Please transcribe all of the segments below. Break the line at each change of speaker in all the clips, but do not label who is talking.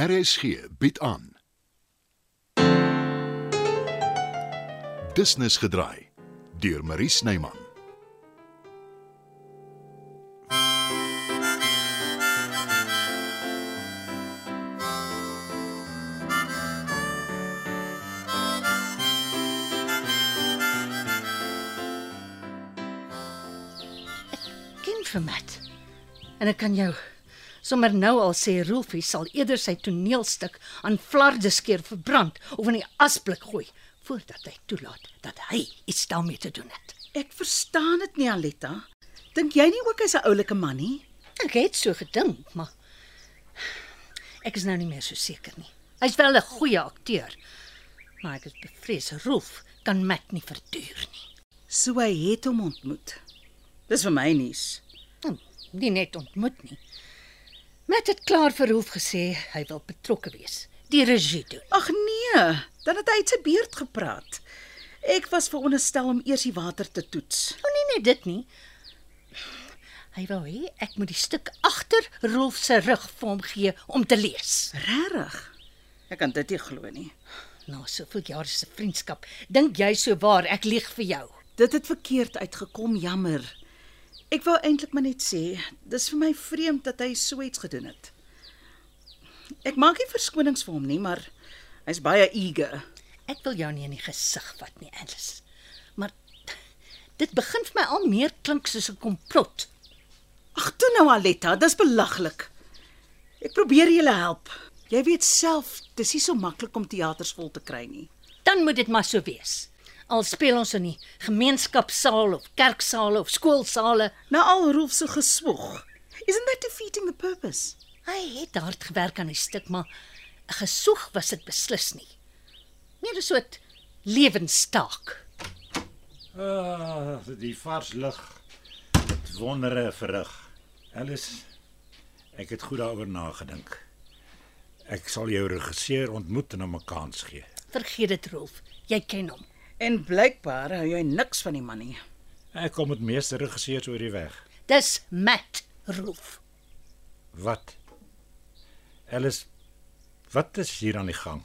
RSG bied aan. Business gedraai deur Marie Snyman.
ken vir Mat. En ek kan jou sommer nou al sê Rolfie sal eerder sy toneelstuk aan flardes keer verbrand of in die asblik gooi voordat hy toelaat dat hy iets daarmee te doen het.
Ek verstaan dit nie, Aletta. Dink jy nie ook hy's 'n oulike man nie?
Ek het so gedink, maar ek is nou nie meer so seker nie. Hy's wel 'n goeie akteur, maar ek is bevrees Rolf kan Mat nie verduur nie.
So hy het hom ontmoet. Dis vir my nuus.
Hm, nie net ontmoet nie. Mat het klaar vir Rolf gesê hy wil betrokke wees. Die regie doen.
Ag nee, dan het hy uit sy beurt gepraat. Ek was veronderstel om eers die water te toets.
Nou nie net dit nie. Hy wou hê ek moet die stuk agter Rolf se rug vir hom gee om te lees.
Regtig? Ek kan dit nie glo nie.
Na soveel jare se vriendskap, dink jy so waar ek lieg vir jou?
Dit het verkeerd uitgekom, jammer. Ek wou eintlik maar net sê, dis vir my vreemd dat hy so iets gedoen het. Ek maak nie verskonings vir hom nie, maar hy's baie eager.
Ek wil jou nie in die gesig vat nie, Alice. Maar dit begin vir my al meer klink soos 'n komplot.
Ag toe nou Aletta, dis belaglik. Ek probeer julle help. Jy weet self, dis nie so maklik om teaters vol te kry nie.
Dan moet dit maar so wees. Al speel ons in die gemeenskapsaal of kerksale of skoolsale,
Na Nou al Rolf se geswoeg. Isn't that defeating the purpose?
hy het hard gewerk aan die stuk, maar 'n gesoeg was dit beslis nie. Meer 'n soort lewenstaak.
Ah, die vars lug. Dit wondere verrig. Alles ek het goed daaroor nagedink. Ek sal jou regisseur ontmoet en hom 'n kans gee.
Vergeet dit, Rolf. Jy ken hom.
En blykbaar hou jy niks van die man nie.
Ek kom met meeste regisseurs oor die weg.
Dis Matt Rolf.
Wat? Alles Wat is hier aan die gang?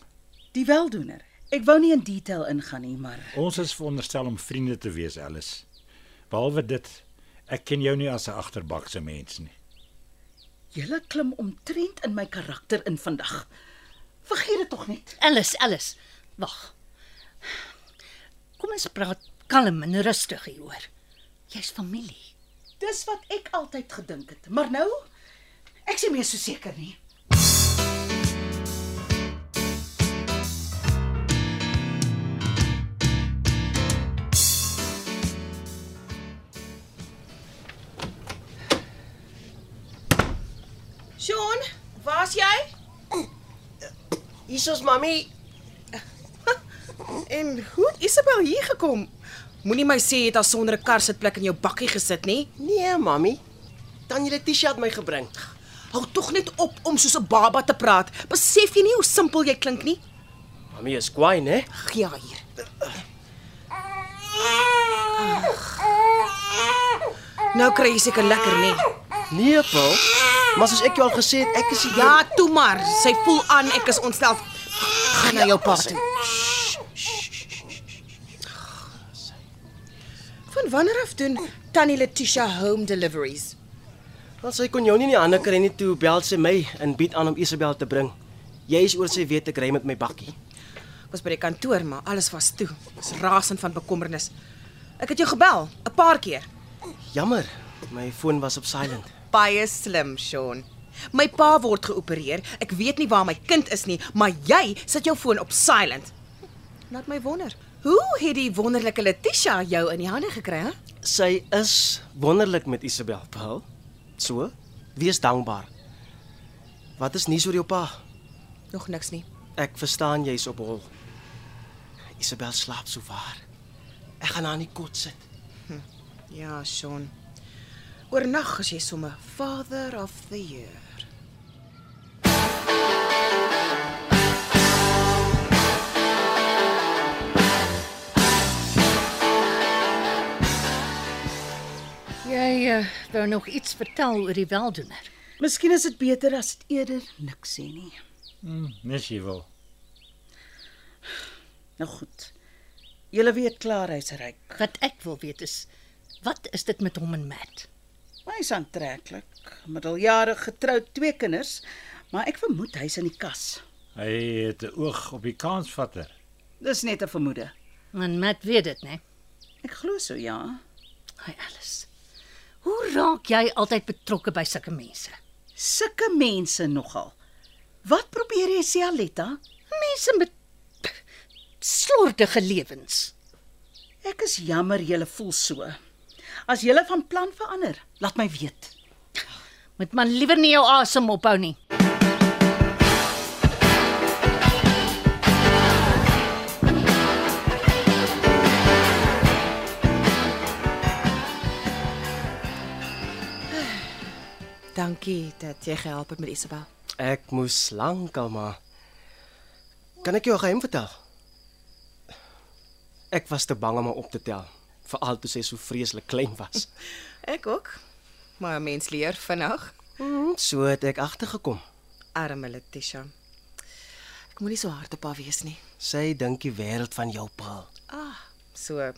Die weldoener. Ek wou nie in detail ingaan nie, maar
Ons is veronderstel om vriende te wees, Alice. Behalwe dit, ek ken jou nie as 'n agterbakse mens nie.
julle klim omtrent in my karakter in vandag. Vergeet dit tog net.
Alice, Alice. Wag. Kom ons praat kalm en rustig hieroor. Jy's familie.
Dis wat ek altyd gedink het, maar nou ek is nie meer so seker nie. Sean, waar's jy?
Hier is mami.
En hoe het Isabel hier gekom? Moenie my sê jy het haar sonder 'n kar sitplek in jou bakkie gesit nie.
Nee, mami. Dan jy 'n T-shirt my gebring.
Hou tog net op om soos 'n baba te praat. Besef jy nie hoe simpel jy klink nie?
Mami is kwaai, né?
Gee haar hier.
Nou kry jy seker lekker nê.
Nee, pa. Maar soos ek jou al gesê het, ek is hier.
Ja, toe maar. Sy voel aan ek is ontstel. Gaan na jou pa toe. Van wanneer af doen Tannie Letitia home deliveries?
Want sy kon jou nie in die hande kry nie toe bel sy my en bied aan om Isabel te bring. Jy is oor sy weet ek ry met my bakkie.
Ek was by die kantoor, maar alles was toe. Ek's rasend van bekommernis. Ek het jou gebel 'n paar keer.
Jammer, my foon was op silent.
Baie slim, Sean. My pa word geopereer. Ek weet nie waar my kind is nie, maar jy sit jou foon op silent. Laat my wonder. Hoe het die wonderlike Letitia jou in die hande gekry, hè?
Sy is wonderlik met Isabel, Paul. So, wees dankbaar. Wat is nuus oor jou pa?
Nog niks nie.
Ek verstaan jy's op hol. Isabel slaap so waar. Ek gaan haar in die kot sit.
Ja, Sean. Oornag as jy sommer Father of the Year.
Jy uh, wou nog iets vertel oor die weldoener.
Miskien is dit beter as dit eerder niks sê nie.
Hm, Nes jy wil.
Nou goed. Julle weet klaar hy's ryk.
Wat ek wil weet is wat is dit met hom en Matt?
Hy's aantreklik, middeljarig, getroud, twee kinders, maar ek vermoed hy's in die kas.
Hy het 'n oog op die kansvatter.
Dis net 'n vermoede.
En Matt weet dit, né?
Ek glo so, ja.
Hi Alice. Hoe raak jy altyd betrokke by sulke mense?
Sulke mense nogal. Wat probeer jy sê, Aletta?
Mense met slordige lewens.
Ek is jammer jy voel so. As jy van plan verander, laat my weet.
Moet man liewer nie jou asem ophou nie.
Dankie dat jy gehelp het met Isabel.
Ek moes lankal maar Kan ek jou 'n geheim vertel? Ek was te bang om haar op te tel, veral toe sy so vreeslik klein was.
Ek ook. Maar 'n mens leer vinnig.
Hmm, so het ek agtergekom.
Arme Letitia. Ek moenie so hard op haar wees nie.
Sy dink die wêreld van jou, Paul.
Ah, so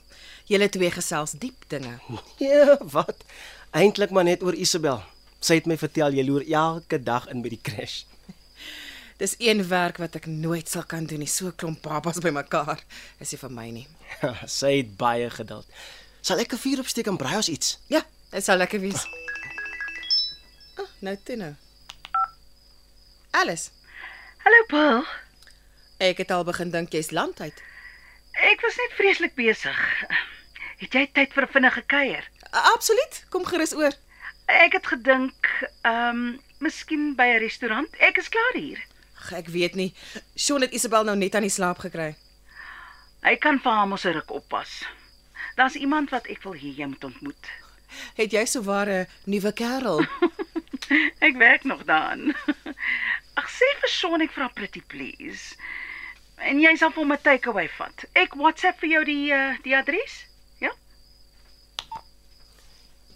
julle twee gesels diep dinge.
Ja, wat? Eintlik maar net oor Isabel. Sy het my vertel jy loer elke dag in by die crash.
Dis een werk wat ek nooit sal kan doen nie. So klomp babas bymekaar is nie vir my nie.
sy het baie geduld. Sal ek 'n vuur opsteek en braai ons iets?
Ja, dit sal lekker wees. Ah, nou toe nou. Alles.
Hallo Paul.
Ek het al begin dink jy's landheid.
Ek was net vreeslik besig. Het jy tyd vir 'n vinnige kuier?
Ah, Absoluut. Kom gerus oor.
Ek het gedink, ehm, miskien by 'n restaurant. Ek is klaar hier.
Ag, ek weet nie. Sean het Isabel nou net aan die slaap gekry.
Hy kan vir hom 'n ruk oppas. Daar's iemand wat ek wil hê jy moet ontmoet.
Het jy so ware nuwe kerel?
Ek werk nog daaraan. Ag sê vir Sean ek vra pretty please. En jy sal vir my takeaway vat. Ek WhatsApp vir jou die eh, die adres. Ja?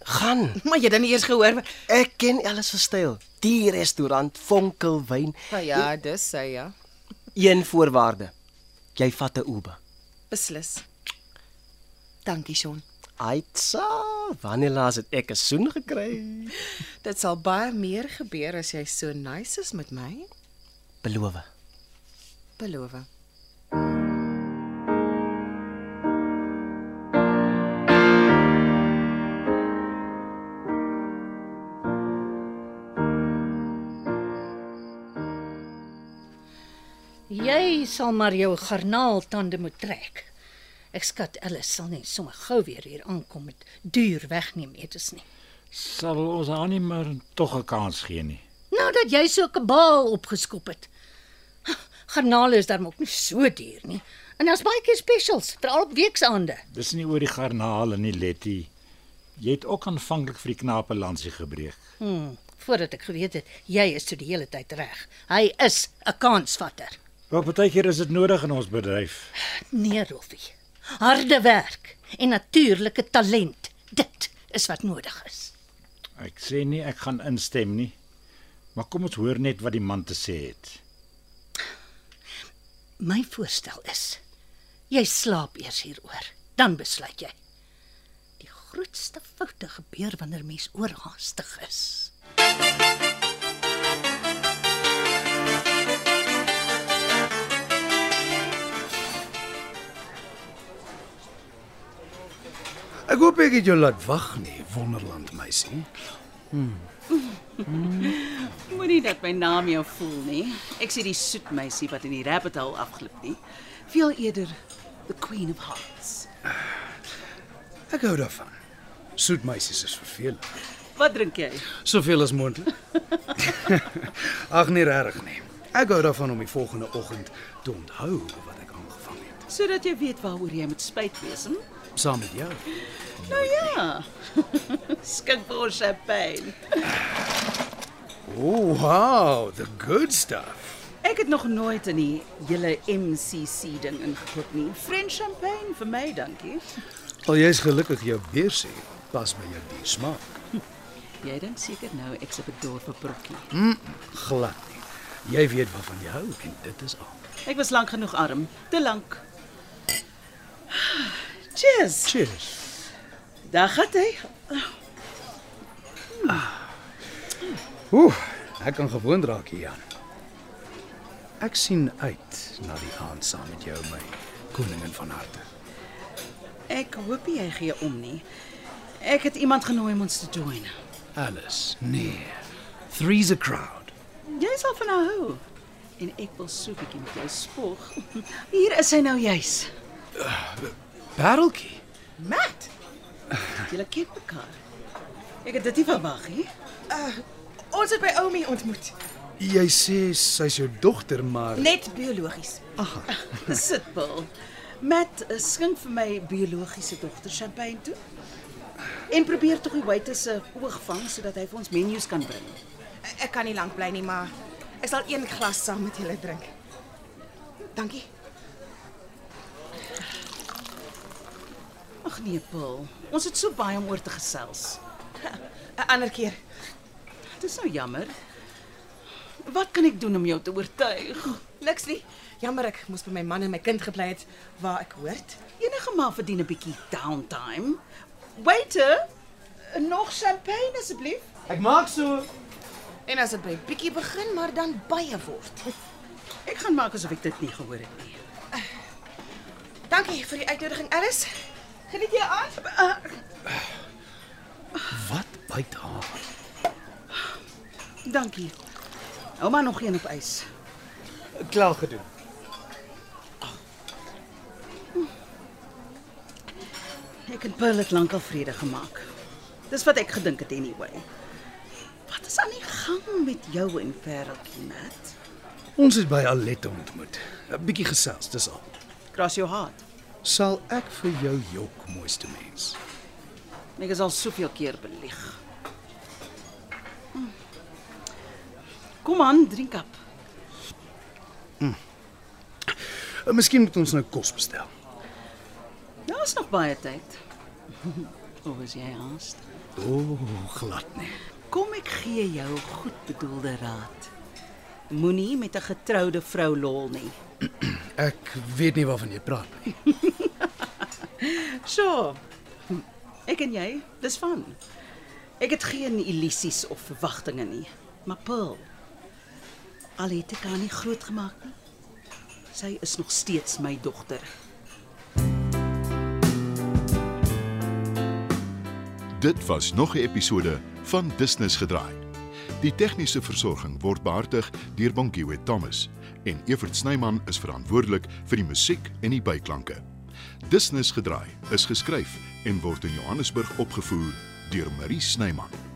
Gaan.
maar jy het dan nie eers gehoor. wa-
Ek ken alles se styl. Die restaurant Vonkelwyn,
Nou ja, dis sy ja.
een voorwaarde. Jy vat 'n Uber.
Beslis. Dankie, Sean.
Aitsa, wanneer laas het ek 'n soen gekry?
Dit sal baie meer gebeur as jy so nice is met my.
Beloof.
Beloof.
Jy sal maar jou garnaal tande moet trek. Ek skat Alice sal nie sommer gou weer hier aankom met duur wegneem etes nie.
Sal ons haar nie maar tog 'n kans gee nie.
Nou dat jy so 'n kabaal opgeskop het. Garnale is dan ook nie so duur nie. En daar's baie keer specials, veral op weksaande.
Dis nie oor die garnaal en die letty. Jy het ook aanvanklik vir die knape lansie gebreek.
Hm, voordat ek geweet het jy is toe die hele tyd reg. Hy is 'n kansvatter.
Wel partykeer is dit nodig in ons bedryf.
Nee, Rolfie. Harde werk en natuurlike talent. Dit is wat nodig is.
Ek sê nie ek gaan instem nie. Maar kom ons hoor net wat die man te sê het.
My voorstel is jy slaap eers hieroor, dan besluit jy. Die grootste foute gebeur wanneer mens oorhaastig is.
Ek hoop ek het jou laat wag nie, wonderland meisie.
Moenie dat my naam jou voel nie. Ek sê die soet meisie wat in die rabbit hole afglip nie. Veel eerder the queen of hearts.
Ek hou daarvan. Soet meisies is vervelend.
Wat drink jy?
Soveel as moontlik. Ag nee, regtig nie. Ek hou daarvan om die volgende oggend te onthou wat ek aangevang het.
Sodat jy weet waaroor jy moet spyt wees. Hm?
Saam met jou.
Nou ja. Skink vir ons champagne.
Oh, wow, the good stuff.
Ek het nog nooit in die hele MCC ding ingekoop nie. French champagne vir my, dankie.
Al jy's gelukkig jou beursie pas by jou die smaak.
Jy dink seker nou ek's op 'n dorp op brokkie.
Glad nie. Jy weet waarvan jy hou en dit is al.
Ek was lank genoeg arm, te lank. Cheers.
Cheers.
Daar gaan hy.
Oeh, ek kan gewoond raak hier aan. Ek sien uit na die aand saam met jou my koningin van harte.
Ek hoop nie hy gee om nie. Ek het iemand genooi om ons te join.
Alice. Nee. Three's a crowd.
Jy sal van haar hou. En ek wil so 'n bietjie met jou spog. Hier is hy nou juis.
Pareltjie.
Matt. Julle ken mekaar. Ek het dit nie verwag nie.
Ons het by Oumi ontmoet,
Jy sê sy's jou dogter, maar
net biologies.
Sit Bill. Matt eh, skink vir my biologiese dogter champagne toe. En probeer tog die waiter se oog vang sodat hy vir ons menus kan bring.
E-, Ek kan nie lank bly nie, maar ek sal een glas saam met julle drink. Dankie.
Ag nee, Bill. Ons het so baie om oor te gesels.
'n Ander keer.
Dis nou jammer. Wat kan ek doen om jou te oortuig?
Niks nie. Jammer ek moes by my man en my kind gebly het waar ek hoort.
Enige ma verdien 'n bietjie downtime. Waiter, nog champagne asseblief.
Ek maak so.
En as dit by bietjie begin, maar dan baie word.
Ek gaan maak asof ek dit nie gehoor het nie.
Dankie vir die uitnodiging, Alice. Geniet jou aand.
Ah.
wat byt haar?
Dankie. Hou maar nog een op ys.
Klaar gedoen.
Ek en Paul het lankal vrede gemaak. Dis wat ek gedink het anyway. Wat is aan die gang met jou en Ferreltjie, Matt?
Ons het by Alet ontmoet. 'n Bietjie gesels, dis al.
Cross your heart.
Sal ek vir jou jok, mooiste mens.
Ek is al soveel keer belieg. Hm. Kom aan, drink op.
Eh, Miskien moet ons nou kos bestel.
Daar's Nou, nog baie tyd. Hoe is jy haast?
O, oh, glad nie.
Kom ek gee jou goed bedoelde raad. Moenie met 'n getroude vrou lol nie.
Ek weet nie waarvan jy praat nie.
So. Ek en jy, dis van. Ek het geen illusies of verwagtinge nie. Maar Paul, al het ek haar nie grootgemaak nie, sy is nog steeds my dogter.
Dit was nog 'n episode van Business gedraai. Die tegniese versorging word behartig deur Bonnie Witt Thomas en Evert Snyman is verantwoordelik vir die musiek en die byklanke. Business gedraai is geskryf en word in Johannesburg opgevoer deur Marie Snyman.